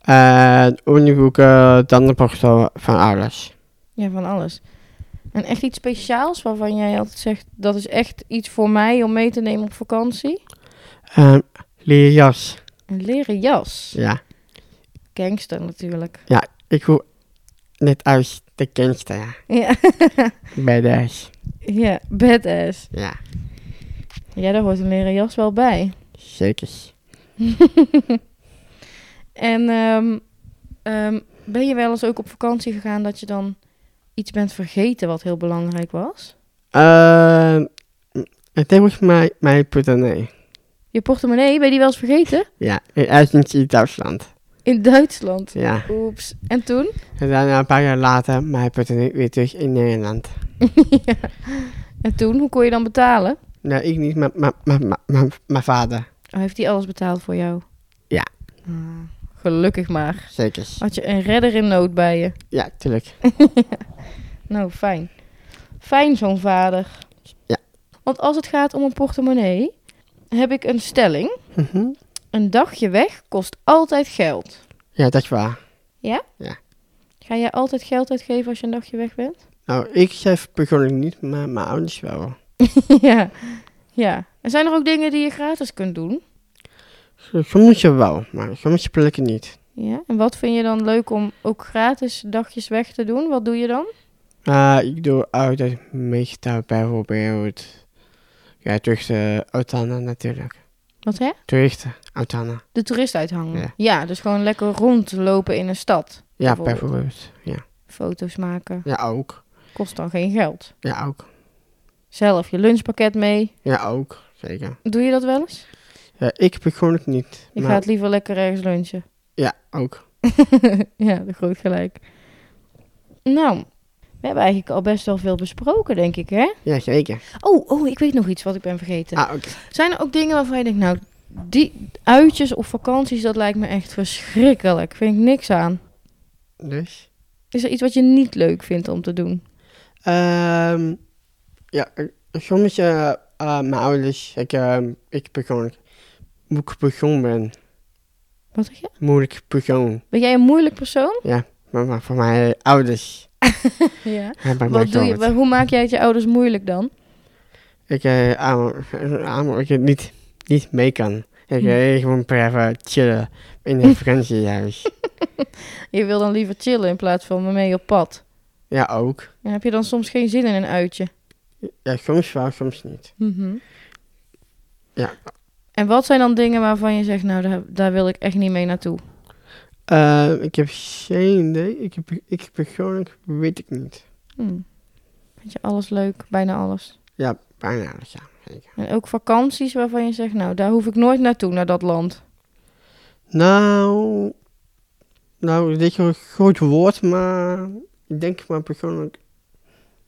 [SPEAKER 2] En onderbroeken, tandenborstel, van alles.
[SPEAKER 1] Ja, van alles. En echt iets speciaals waarvan jij altijd zegt, dat is echt iets voor mij om mee te nemen op vakantie?
[SPEAKER 2] Ehm leren jas.
[SPEAKER 1] Een leren jas.
[SPEAKER 2] Ja.
[SPEAKER 1] Gangster natuurlijk.
[SPEAKER 2] Ik hoor net uit de kindste, ja.
[SPEAKER 1] Ja,
[SPEAKER 2] Bij de huis.
[SPEAKER 1] ja badass.
[SPEAKER 2] Ja,
[SPEAKER 1] Ja, daar hoort een leren jas wel bij.
[SPEAKER 2] zeker.
[SPEAKER 1] En ehm, ehm, ben je wel eens ook op vakantie gegaan dat je dan iets bent vergeten wat heel belangrijk was?
[SPEAKER 2] Ehm het is volgens mij mijn portemonnee.
[SPEAKER 1] Je portemonnee, ben je die wel eens vergeten?
[SPEAKER 2] Ja, uit in Duitsland.
[SPEAKER 1] In Duitsland.
[SPEAKER 2] Ja.
[SPEAKER 1] Oeps. En toen?
[SPEAKER 2] En daarna een paar jaar later mijn portemonnee weer terug in Nederland.
[SPEAKER 1] ja. En toen, hoe kon je dan betalen?
[SPEAKER 2] Nou, ik niet, maar maar- maar- maar- maar- mijn vader.
[SPEAKER 1] Oh, heeft hij alles betaald voor jou?
[SPEAKER 2] Ja.
[SPEAKER 1] Ah, gelukkig maar.
[SPEAKER 2] Zeker.
[SPEAKER 1] Had je een redder in nood bij je.
[SPEAKER 2] Ja, tuurlijk.
[SPEAKER 1] Nou, fijn. Fijn zo'n vader.
[SPEAKER 2] Ja.
[SPEAKER 1] Want als het gaat om een portemonnee, heb ik een stelling.
[SPEAKER 2] Mhm.
[SPEAKER 1] Een dagje weg kost altijd geld.
[SPEAKER 2] ja, dat is waar.
[SPEAKER 1] Ga jij altijd geld uitgeven als je een dagje weg bent?
[SPEAKER 2] Nou, ik zelf persoonlijk niet, maar mijn ouders wel.
[SPEAKER 1] ja. Ja. En zijn er ook dingen die je gratis kunt doen?
[SPEAKER 2] Sommige wel, maar sommige plekken niet.
[SPEAKER 1] Ja. En wat vind je dan leuk om ook gratis dagjes weg te doen? Wat doe je dan?
[SPEAKER 2] Ah, ik doe altijd meestal bijvoorbeeld... Ja, terug de Otana natuurlijk.
[SPEAKER 1] Wat hè?
[SPEAKER 2] Toeristen, Otana.
[SPEAKER 1] De toerist uithangen. Ja.
[SPEAKER 2] Ja.
[SPEAKER 1] dus gewoon lekker rondlopen in een stad.
[SPEAKER 2] Ja,
[SPEAKER 1] Bijvoorbeeld.
[SPEAKER 2] bijvoorbeeld. Ja.
[SPEAKER 1] Foto's maken.
[SPEAKER 2] ja, ook.
[SPEAKER 1] Kost dan geen geld.
[SPEAKER 2] Ja, ook.
[SPEAKER 1] Zelf je lunchpakket mee.
[SPEAKER 2] Ja, ook. Zeker.
[SPEAKER 1] Doe je dat wel eens?
[SPEAKER 2] Ja, ik persoonlijk niet.
[SPEAKER 1] Ik
[SPEAKER 2] maar
[SPEAKER 1] ga het liever lekker ergens lunchen.
[SPEAKER 2] Ja, ook.
[SPEAKER 1] ja, de groot gelijk. Nou, we hebben eigenlijk al best wel veel besproken, denk ik, hè?
[SPEAKER 2] Ja, zeker.
[SPEAKER 1] Oh, oh, ik weet nog iets wat ik ben vergeten.
[SPEAKER 2] Ah, oké.
[SPEAKER 1] Zijn er ook dingen waarvan je denkt, nou, die uitjes of vakanties, dat lijkt me echt verschrikkelijk. Vind ik niks aan.
[SPEAKER 2] Dus?
[SPEAKER 1] Is er iets wat je niet leuk vindt om te doen?
[SPEAKER 2] Ehm, ja, eh, soms eh, eh, mijn ouders, ik, ehm, ik persoonlijk, moeilijk persoon ben.
[SPEAKER 1] Wat zeg je?
[SPEAKER 2] Moeilijk persoon.
[SPEAKER 1] Ben jij een moeilijk persoon?
[SPEAKER 2] Maar, maar voor mijn ouders
[SPEAKER 1] Ja.
[SPEAKER 2] hebben mij
[SPEAKER 1] Wat doe je?
[SPEAKER 2] gehoord.
[SPEAKER 1] wa- Hoe maak jij het je ouders moeilijk dan?
[SPEAKER 2] Ik eh, aan- aan dat ik het niet, niet mee kan. Ik eh, gewoon even chillen in een vakantiehuis.
[SPEAKER 1] Je wil dan liever chillen in plaats van me mee op pad.
[SPEAKER 2] ja, ook.
[SPEAKER 1] En heb je dan soms geen zin in een uitje?
[SPEAKER 2] Ja, soms wel, soms niet.
[SPEAKER 1] Mhm.
[SPEAKER 2] Ja.
[SPEAKER 1] En wat zijn dan dingen waarvan je zegt, nou, daar, daar wil ik echt niet mee naartoe?
[SPEAKER 2] Ehm, ik heb geen idee. Ik, heb, ik persoonlijk weet ik niet.
[SPEAKER 1] Hm. Vind je alles leuk? Bijna alles.
[SPEAKER 2] Ja, bijna alles, ja. zeker.
[SPEAKER 1] En ook vakanties waarvan je zegt, nou, daar hoef ik nooit naartoe, naar dat land.
[SPEAKER 2] Nou, nou, dit is een groot woord, maar ik denk maar persoonlijk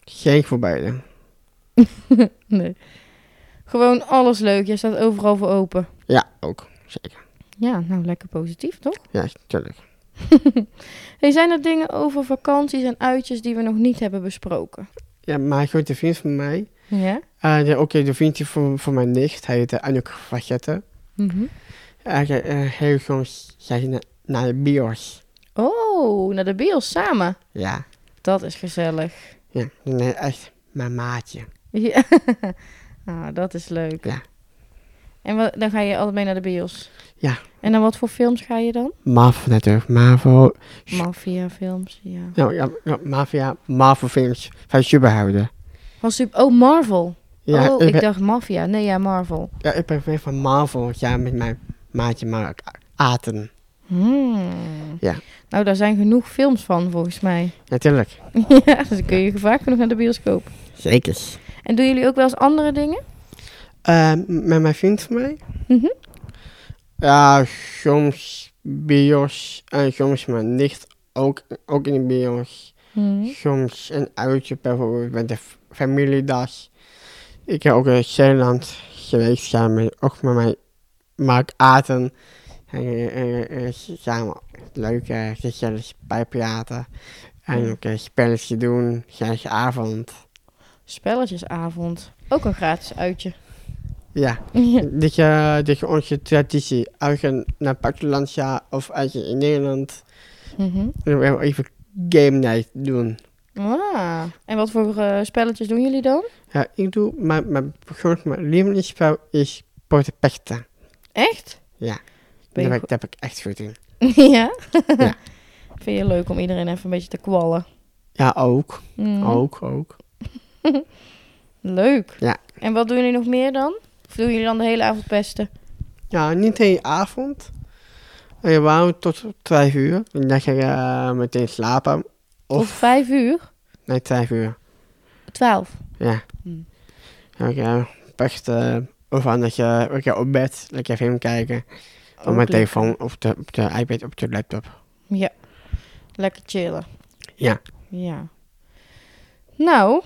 [SPEAKER 2] geen voor beide.
[SPEAKER 1] Nee. Gewoon alles leuk. Je staat overal voor open.
[SPEAKER 2] Ja, ook. Zeker.
[SPEAKER 1] Ja, nou, lekker positief, toch?
[SPEAKER 2] Ja, tuurlijk.
[SPEAKER 1] Hey, zijn er dingen over vakanties en uitjes die we nog niet hebben besproken?
[SPEAKER 2] Ja, maar grote vriend van mij,
[SPEAKER 1] Ja?
[SPEAKER 2] Eh, de- Oké, de vriendje van, van mijn nicht, hij heette Anouk Facetten.
[SPEAKER 1] Mhm.
[SPEAKER 2] Hij uh, heel soms zei na, naar de bios.
[SPEAKER 1] Oh, naar de bios samen.
[SPEAKER 2] Ja.
[SPEAKER 1] Dat is gezellig.
[SPEAKER 2] ja. Nee, echt mijn maatje.
[SPEAKER 1] Ja. Ah, dat is leuk.
[SPEAKER 2] Ja.
[SPEAKER 1] En wat, dan ga je altijd mee naar de bios?
[SPEAKER 2] Ja.
[SPEAKER 1] En dan wat voor films ga je dan?
[SPEAKER 2] Marvel natuurlijk, Marvel.
[SPEAKER 1] Mafia films, ja.
[SPEAKER 2] Nou ja, ja, Mafia, Marvel films van superhouden.
[SPEAKER 1] Van super, oh, Marvel.
[SPEAKER 2] Ja,
[SPEAKER 1] oh,
[SPEAKER 2] ik
[SPEAKER 1] ik,
[SPEAKER 2] ben,
[SPEAKER 1] dacht Mafia. Nee, ja, Marvel.
[SPEAKER 2] ja, ik ben fan van Marvel, ja, met mijn maatje Mark Aten.
[SPEAKER 1] Hmm.
[SPEAKER 2] Ja.
[SPEAKER 1] Nou, daar zijn genoeg films van, volgens mij.
[SPEAKER 2] Natuurlijk,
[SPEAKER 1] ja, dus dan kun je vaak genoeg naar de bioscoop.
[SPEAKER 2] zeker.
[SPEAKER 1] En doen jullie ook wel eens andere dingen?
[SPEAKER 2] Eh, met mijn vriend van mij?
[SPEAKER 1] Mhm.
[SPEAKER 2] Ja, soms bios en soms mijn nicht ook, ook in de bios.
[SPEAKER 1] Hmm.
[SPEAKER 2] Soms een uitje bijvoorbeeld met de f- familiedag. Ik heb ook in Zeeland geweest samen, met- ook met mijn Mark Aten. En, eh, eh, eh, samen leuke gezellig bijpraten. En
[SPEAKER 1] Ja.
[SPEAKER 2] ook een spelletje doen, gezellige avond.
[SPEAKER 1] Spelletjesavond. Ook een gratis uitje.
[SPEAKER 2] Ja.
[SPEAKER 1] Ja.
[SPEAKER 2] Dat je, dat je onze traditie, als je naar het buitenland gaat of als je in Nederland,
[SPEAKER 1] Mhm.
[SPEAKER 2] dan wil je even game night doen.
[SPEAKER 1] Ah. En wat voor eh, spelletjes doen jullie dan?
[SPEAKER 2] Ja, ik doe, mijn, mijn, persoonlijk mijn lievelingsspel is Porte Pechten.
[SPEAKER 1] Echt?
[SPEAKER 2] Ja,
[SPEAKER 1] Ben je
[SPEAKER 2] daar ben, ik,
[SPEAKER 1] goed-
[SPEAKER 2] daar ben ik echt goed in.
[SPEAKER 1] ja?
[SPEAKER 2] Ja.
[SPEAKER 1] Vind je leuk om iedereen even een beetje te kwallen?
[SPEAKER 2] Ja, ook,
[SPEAKER 1] Mm.
[SPEAKER 2] ook, ook.
[SPEAKER 1] Leuk.
[SPEAKER 2] Oh. Ja.
[SPEAKER 1] En wat doen jullie nog meer dan? Of doen jullie dan de hele avond pesten?
[SPEAKER 2] Ja, niet de hele avond. We waren tot vijf uur. En dan ga je eh, meteen slapen.
[SPEAKER 1] Tot
[SPEAKER 2] Of,
[SPEAKER 1] vijf uur?
[SPEAKER 2] nee, vijf uur.
[SPEAKER 1] Twaalf.
[SPEAKER 2] Ja.
[SPEAKER 1] Hmm.
[SPEAKER 2] Dan ga je pechten. Of anders eh, dan ga je op bed, lekker film kijken. Op
[SPEAKER 1] Ook
[SPEAKER 2] mijn
[SPEAKER 1] leuk.
[SPEAKER 2] telefoon, op de, op de iPad, op de laptop.
[SPEAKER 1] Ja. Lekker chillen.
[SPEAKER 2] Ja.
[SPEAKER 1] Ja. Nou,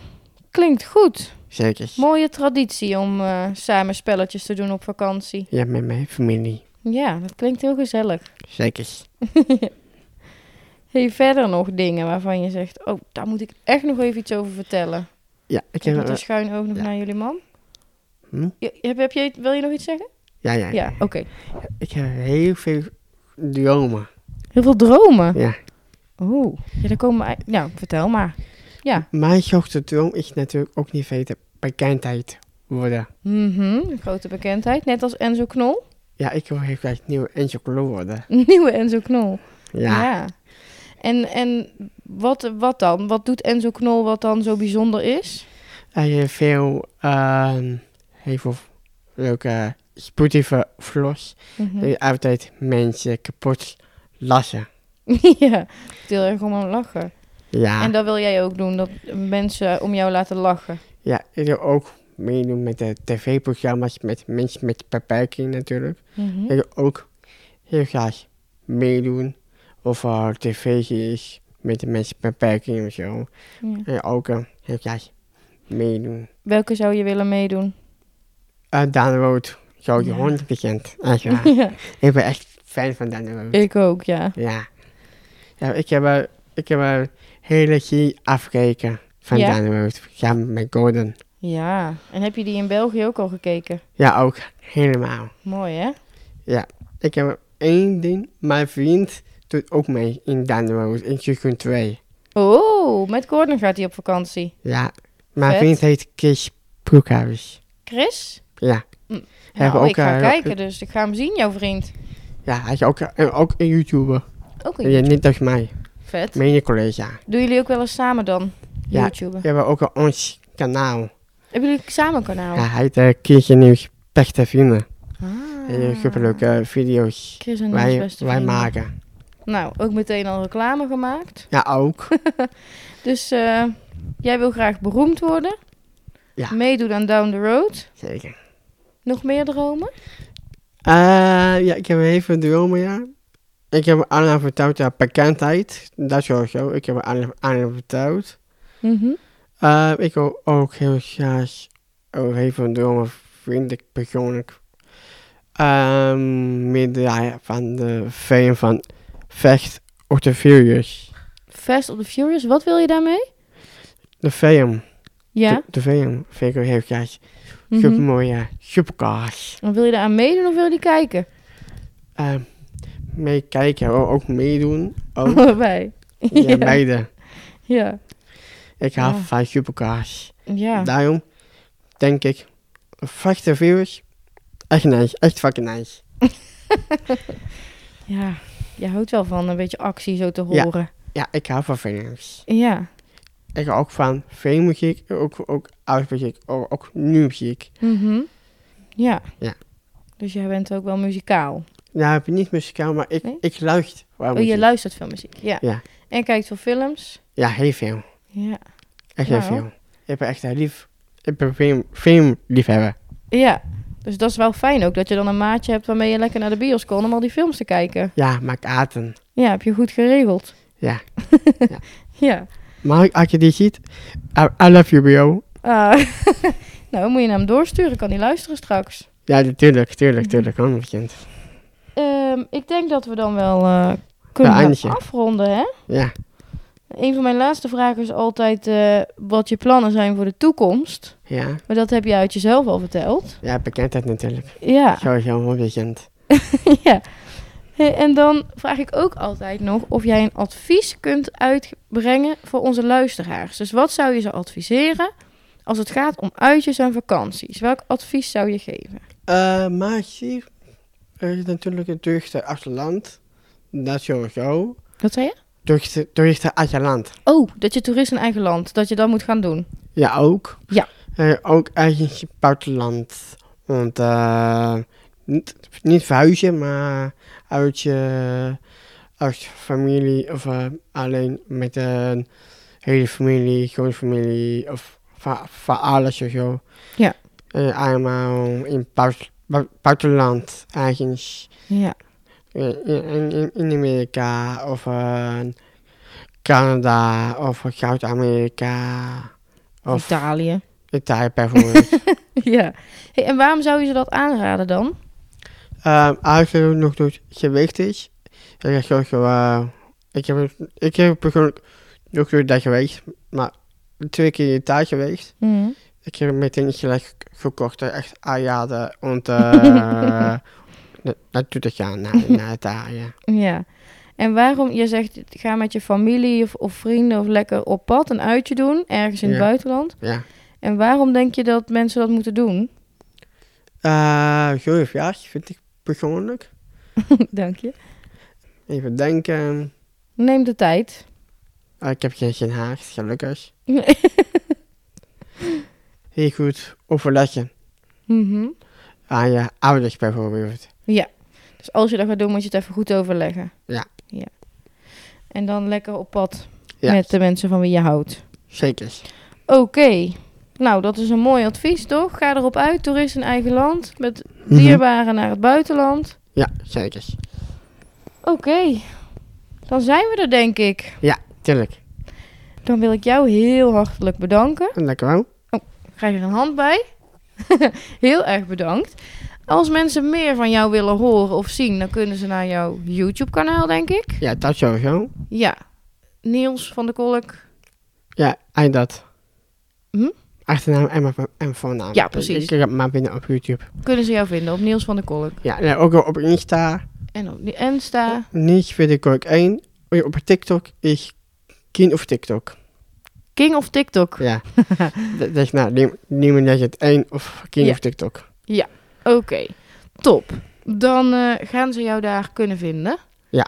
[SPEAKER 1] klinkt goed.
[SPEAKER 2] Zeker.
[SPEAKER 1] Mooie traditie om eh, samen spelletjes te doen op vakantie.
[SPEAKER 2] Ja, met mijn familie.
[SPEAKER 1] Ja, dat klinkt heel gezellig.
[SPEAKER 2] Zeker.
[SPEAKER 1] Hey, verder nog dingen waarvan je zegt, oh, daar moet ik echt nog even iets over vertellen.
[SPEAKER 2] Ja, ik
[SPEAKER 1] Ik
[SPEAKER 2] heb...
[SPEAKER 1] doe een
[SPEAKER 2] eh,
[SPEAKER 1] schuin oog nog
[SPEAKER 2] ja.
[SPEAKER 1] naar jullie man.
[SPEAKER 2] hm?
[SPEAKER 1] Je- heb, heb je, wil je nog iets zeggen?
[SPEAKER 2] ja, ja,
[SPEAKER 1] Ja, oké.
[SPEAKER 2] Ik heb heel veel dromen.
[SPEAKER 1] Heel veel dromen.
[SPEAKER 2] Ja.
[SPEAKER 1] Oeh. Ja, daar komen... ei- Nou, vertel maar. Ja.
[SPEAKER 2] Mijn grootste droom is natuurlijk ook niet weten bekendheid worden.
[SPEAKER 1] Mhm. Een grote bekendheid. Net als Enzo Knol.
[SPEAKER 2] Ja, ik wil heel graag nieuwe Angel Glow worden.
[SPEAKER 1] Nieuwe Enzo Knol.
[SPEAKER 2] Ja.
[SPEAKER 1] En, en wat, wat dan? Wat doet Enzo Knol wat dan zo bijzonder is?
[SPEAKER 2] Hij heeft veel, ehm, heel veel leuke sportieve vlogs.
[SPEAKER 1] Mhm.
[SPEAKER 2] Hij altijd mensen kapot lassen.
[SPEAKER 1] ja. Heel erg om aan lachen.
[SPEAKER 2] Ja.
[SPEAKER 1] En dat wil jij ook doen. Dat mensen om jou laten lachen.
[SPEAKER 2] Ja, ik wil ook meedoen met de tv-programma's met mensen met beperking natuurlijk.
[SPEAKER 1] Mhm.
[SPEAKER 2] Ik wil ook heel graag meedoen over tv-series met de mensen met beperking of zo.
[SPEAKER 1] Ja.
[SPEAKER 2] En ook eh, heel graag meedoen.
[SPEAKER 1] Welke zou je willen meedoen?
[SPEAKER 2] Eh Dan Rood, zo die
[SPEAKER 1] Ja.
[SPEAKER 2] hond bekend. Echt waar.
[SPEAKER 1] Ja,
[SPEAKER 2] ik ben echt fan van Dan Rood.
[SPEAKER 1] ik ook, ja.
[SPEAKER 2] Ja. ja ik, heb, eh, ik heb een hele serie afgekeken van
[SPEAKER 1] Ja?
[SPEAKER 2] Dan Rood. Samen met Gordon.
[SPEAKER 1] Ja, en heb je die in België ook al gekeken?
[SPEAKER 2] Ja, ook. Helemaal.
[SPEAKER 1] Mooi, hè?
[SPEAKER 2] Ik heb één ding. Mijn vriend doet ook mee in Dan Road in seizoen 2.
[SPEAKER 1] Oh, met Gordon gaat hij op vakantie.
[SPEAKER 2] Ja. Mijn
[SPEAKER 1] Vet.
[SPEAKER 2] vriend heet Chris Broekhuis.
[SPEAKER 1] Chris?
[SPEAKER 2] Ja. Hij heeft
[SPEAKER 1] Nou,
[SPEAKER 2] ook,
[SPEAKER 1] ik ga
[SPEAKER 2] eh,
[SPEAKER 1] kijken, dus ik ga hem zien, jouw vriend.
[SPEAKER 2] Ja, hij is ook, en ook een YouTuber.
[SPEAKER 1] Oké,
[SPEAKER 2] Ja, niet als mij.
[SPEAKER 1] vet.
[SPEAKER 2] Mijn collega.
[SPEAKER 1] Doen jullie ook wel eens samen dan?
[SPEAKER 2] Ja.
[SPEAKER 1] YouTuber.
[SPEAKER 2] We hebben ook een ons kanaal.
[SPEAKER 1] Hebben jullie samen een kanaal?
[SPEAKER 2] Ja, hij heet uh, Chris en Nieuws Beste Vrienden.
[SPEAKER 1] Ah.
[SPEAKER 2] Heel superleuke eh, video's.
[SPEAKER 1] Chris en ons
[SPEAKER 2] Wij,
[SPEAKER 1] beste
[SPEAKER 2] wij
[SPEAKER 1] vrienden.
[SPEAKER 2] maken.
[SPEAKER 1] Nou, ook meteen al reclame gemaakt.
[SPEAKER 2] Ja, ook.
[SPEAKER 1] Dus eh, jij wil graag beroemd worden.
[SPEAKER 2] Ja.
[SPEAKER 1] Meedoen aan Down the Road.
[SPEAKER 2] Zeker.
[SPEAKER 1] Nog meer dromen?
[SPEAKER 2] Eh, ja, ik heb even dromen, ja. Ik heb aan vertrouwd aan bekendheid. Dat sowieso. Ik heb aan vertrouwd.
[SPEAKER 1] Mhm.
[SPEAKER 2] Eh, ik wil ook heel graag ook even dromen, vind ik persoonlijk. Ehm meedraaien van de fan van Vecht of the Furious.
[SPEAKER 1] Fast of the Furious, wat wil je daarmee?
[SPEAKER 2] De film.
[SPEAKER 1] Ja.
[SPEAKER 2] De, de film vind ik ook heel graag.
[SPEAKER 1] Mhm.
[SPEAKER 2] Super mooie supercars.
[SPEAKER 1] En wil je daar aan meedoen of wil je die kijken?
[SPEAKER 2] Ehm meekijken, ook ook meedoen. Oh, Ook,
[SPEAKER 1] Allebei.
[SPEAKER 2] ja,
[SPEAKER 1] Oh, Ja.
[SPEAKER 2] beide.
[SPEAKER 1] Ja.
[SPEAKER 2] Ik hou
[SPEAKER 1] Ja.
[SPEAKER 2] van supercars.
[SPEAKER 1] Ja.
[SPEAKER 2] Daarom denk ik, vaste viewers, echt nice, echt fucking nice.
[SPEAKER 1] Ja. Je houdt wel van een beetje actie zo te
[SPEAKER 2] Ja.
[SPEAKER 1] horen.
[SPEAKER 2] Ja, ik hou van films.
[SPEAKER 1] Ja.
[SPEAKER 2] Ik hou ook van filmmuziek, ook, ook oud muziek, ook, ook nu muziek.
[SPEAKER 1] Mhm. Ja.
[SPEAKER 2] Ja.
[SPEAKER 1] Dus jij bent ook wel muzikaal.
[SPEAKER 2] Nou, ik ben niet muzikaal, maar ik,
[SPEAKER 1] Nee?
[SPEAKER 2] ik luister wel
[SPEAKER 1] Oh, je
[SPEAKER 2] muziek.
[SPEAKER 1] luistert veel muziek. Ja.
[SPEAKER 2] Ja.
[SPEAKER 1] En kijkt veel films.
[SPEAKER 2] ja, heel veel.
[SPEAKER 1] Ja.
[SPEAKER 2] Echt heel
[SPEAKER 1] Nou.
[SPEAKER 2] veel. Ik ben echt heel lief. Ik ben film, filmliefhebber.
[SPEAKER 1] Ja. Dus dat is wel fijn ook, dat je dan een maatje hebt waarmee je lekker naar de bios kon om al die films te kijken.
[SPEAKER 2] Ja, maak aten.
[SPEAKER 1] Ja, heb je goed geregeld.
[SPEAKER 2] Ja.
[SPEAKER 1] Ja.
[SPEAKER 2] Maar als je die ziet, I, I love you, bro.
[SPEAKER 1] Ah, nou, moet je hem doorsturen, kan hij luisteren straks.
[SPEAKER 2] Ja, tuurlijk,
[SPEAKER 1] Mhm.
[SPEAKER 2] tuurlijk, tuurlijk, 100%.
[SPEAKER 1] Ehm, ik denk dat we dan wel eh, kunnen gaan
[SPEAKER 2] eindigen.
[SPEAKER 1] afronden, hè?
[SPEAKER 2] Ja,
[SPEAKER 1] Een van mijn laatste vragen is altijd eh, wat je plannen zijn voor de toekomst.
[SPEAKER 2] ja.
[SPEAKER 1] Maar dat heb je uit jezelf al verteld.
[SPEAKER 2] Ja, bekendheid natuurlijk.
[SPEAKER 1] Ja.
[SPEAKER 2] Sowieso 100%.
[SPEAKER 1] ja. Hey, en dan vraag ik ook altijd nog of jij een advies kunt uitbrengen voor onze luisteraars. Dus wat zou je ze adviseren als het gaat om uitjes en vakanties? Welk advies zou je geven?
[SPEAKER 2] Eh, maar hier is natuurlijk het drukte als land. Dat sowieso.
[SPEAKER 1] Wat zei je?
[SPEAKER 2] Drukte, drukte als land.
[SPEAKER 1] Oh, dat je toerist in eigen land, dat je dat moet gaan doen.
[SPEAKER 2] Ja, ook.
[SPEAKER 1] Ja.
[SPEAKER 2] Eh, ook eigenlijk in het buitenland. Want eh, niet, niet verhuizen, maar uit je uit familie of eh, alleen met een hele familie, grootfamilie of van, van alles of zo.
[SPEAKER 1] Ja.
[SPEAKER 2] Eh, allemaal in het buiten- bu- buitenland eigenlijk.
[SPEAKER 1] Ja.
[SPEAKER 2] in, in, in- in Amerika of eh, Canada of Zuid-Amerika of
[SPEAKER 1] Italië.
[SPEAKER 2] Italië bijvoorbeeld.
[SPEAKER 1] ja. Hey, en waarom zou je ze dat aanraden dan?
[SPEAKER 2] Ehm, Als je nog doet gewicht is, dan is sowieso, eh, ik heb ik heb persoonlijk nog nooit daar geweest, maar twee keer in Italië geweest.
[SPEAKER 1] Mm.
[SPEAKER 2] Ik heb meteen gelijk gekocht, eh, echt aanraden om te, eh, na- naartoe te gaan naar, naar Italië.
[SPEAKER 1] Ja. En waarom, je zegt, ga met je familie of, of vrienden of lekker op pad een uitje doen, ergens in het
[SPEAKER 2] Ja.
[SPEAKER 1] buitenland.
[SPEAKER 2] Ja.
[SPEAKER 1] En waarom denk je dat mensen dat moeten doen?
[SPEAKER 2] Eh goeie vraag, vind ik persoonlijk.
[SPEAKER 1] Dank je.
[SPEAKER 2] Even denken.
[SPEAKER 1] Neem de tijd.
[SPEAKER 2] Ah, ik heb geen, geen haast, gelukkig. Heel goed overleggen
[SPEAKER 1] Mhm.
[SPEAKER 2] aan je ouders bijvoorbeeld.
[SPEAKER 1] Dus als je dat gaat doen, moet je het even goed overleggen.
[SPEAKER 2] Ja.
[SPEAKER 1] ja. En dan lekker op pad
[SPEAKER 2] Ja.
[SPEAKER 1] met de mensen van wie je houdt.
[SPEAKER 2] Zeker.
[SPEAKER 1] Oké.
[SPEAKER 3] Nou, dat is een mooi advies, toch? Ga erop uit, toerist in eigen land. Met
[SPEAKER 2] Mhm.
[SPEAKER 3] dierbaren naar het buitenland.
[SPEAKER 2] Ja, zeker.
[SPEAKER 3] Oké, dan zijn we er, denk ik.
[SPEAKER 2] Tuurlijk.
[SPEAKER 3] Dan wil ik jou heel hartelijk bedanken.
[SPEAKER 2] En lekker wel.
[SPEAKER 3] Ik krijg er een hand bij. heel erg bedankt. Als mensen meer van jou willen horen of zien, dan kunnen ze naar jouw YouTube-kanaal, denk ik.
[SPEAKER 2] Ja, dat sowieso.
[SPEAKER 3] Ja, Niels van de Kolk.
[SPEAKER 2] Ja, en dat.
[SPEAKER 3] Hm?
[SPEAKER 2] Achternaam en, mijn vo- en voornaam.
[SPEAKER 3] Ja, precies.
[SPEAKER 2] Ik kijk het maar binnen op YouTube.
[SPEAKER 3] Kunnen ze jou vinden op Niels van de Kolk.
[SPEAKER 2] Ja, en ook op Insta.
[SPEAKER 3] En op die Insta.
[SPEAKER 2] Niet vind ik ook één. Oh Op TikTok is Kien of TikTok.
[SPEAKER 3] King of TikTok.
[SPEAKER 2] Ja. dat is nou, neem- neem maar dat je het één of Kien
[SPEAKER 3] Ja.
[SPEAKER 2] of TikTok.
[SPEAKER 3] Oké, top. Dan eh, gaan ze jou daar kunnen vinden.
[SPEAKER 2] Ja.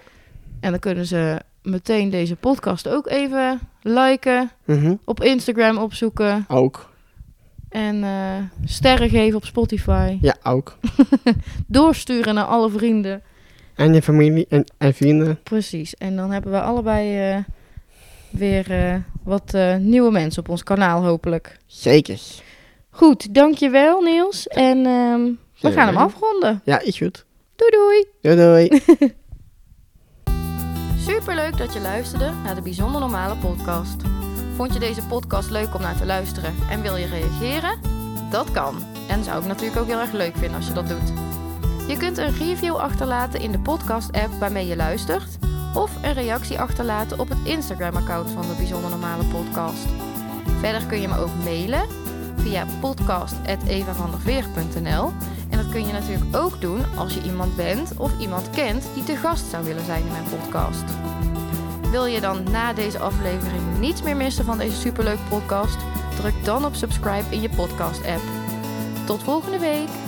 [SPEAKER 3] En dan kunnen ze meteen deze podcast ook even liken.
[SPEAKER 2] Mhm.
[SPEAKER 3] Op Instagram opzoeken.
[SPEAKER 2] Ook.
[SPEAKER 3] En eh, sterren geven op Spotify.
[SPEAKER 2] Ja, ook.
[SPEAKER 3] Doorsturen naar alle vrienden.
[SPEAKER 2] En je familie en, en vrienden.
[SPEAKER 3] Precies. En dan hebben we allebei eh, weer eh, wat eh, nieuwe mensen op ons kanaal, hopelijk.
[SPEAKER 2] Zeker.
[SPEAKER 3] Goed, dankjewel Niels. En ehm, we
[SPEAKER 2] Geen
[SPEAKER 3] gaan hem
[SPEAKER 2] probleem.
[SPEAKER 3] afronden.
[SPEAKER 2] Ja, is goed.
[SPEAKER 3] Doei doei!
[SPEAKER 2] Doei doei.
[SPEAKER 1] Superleuk dat je luisterde naar de Bijzonder Normale podcast. Vond je deze podcast leuk om naar te luisteren en wil je reageren? Dat kan. En zou ik natuurlijk ook heel erg leuk vinden als je dat doet. Je kunt een review achterlaten in de podcast-app waarmee je luistert. Of een reactie achterlaten op het Instagram-account van de Bijzonder Normale podcast. Verder kun je me ook mailen via podcast.evavanderveer.nl En dat kun je natuurlijk ook doen als je iemand bent of iemand kent die te gast zou willen zijn in mijn podcast. Wil je dan na deze aflevering niets meer missen van deze superleuke podcast? Druk dan op subscribe in je podcast app. Tot volgende week!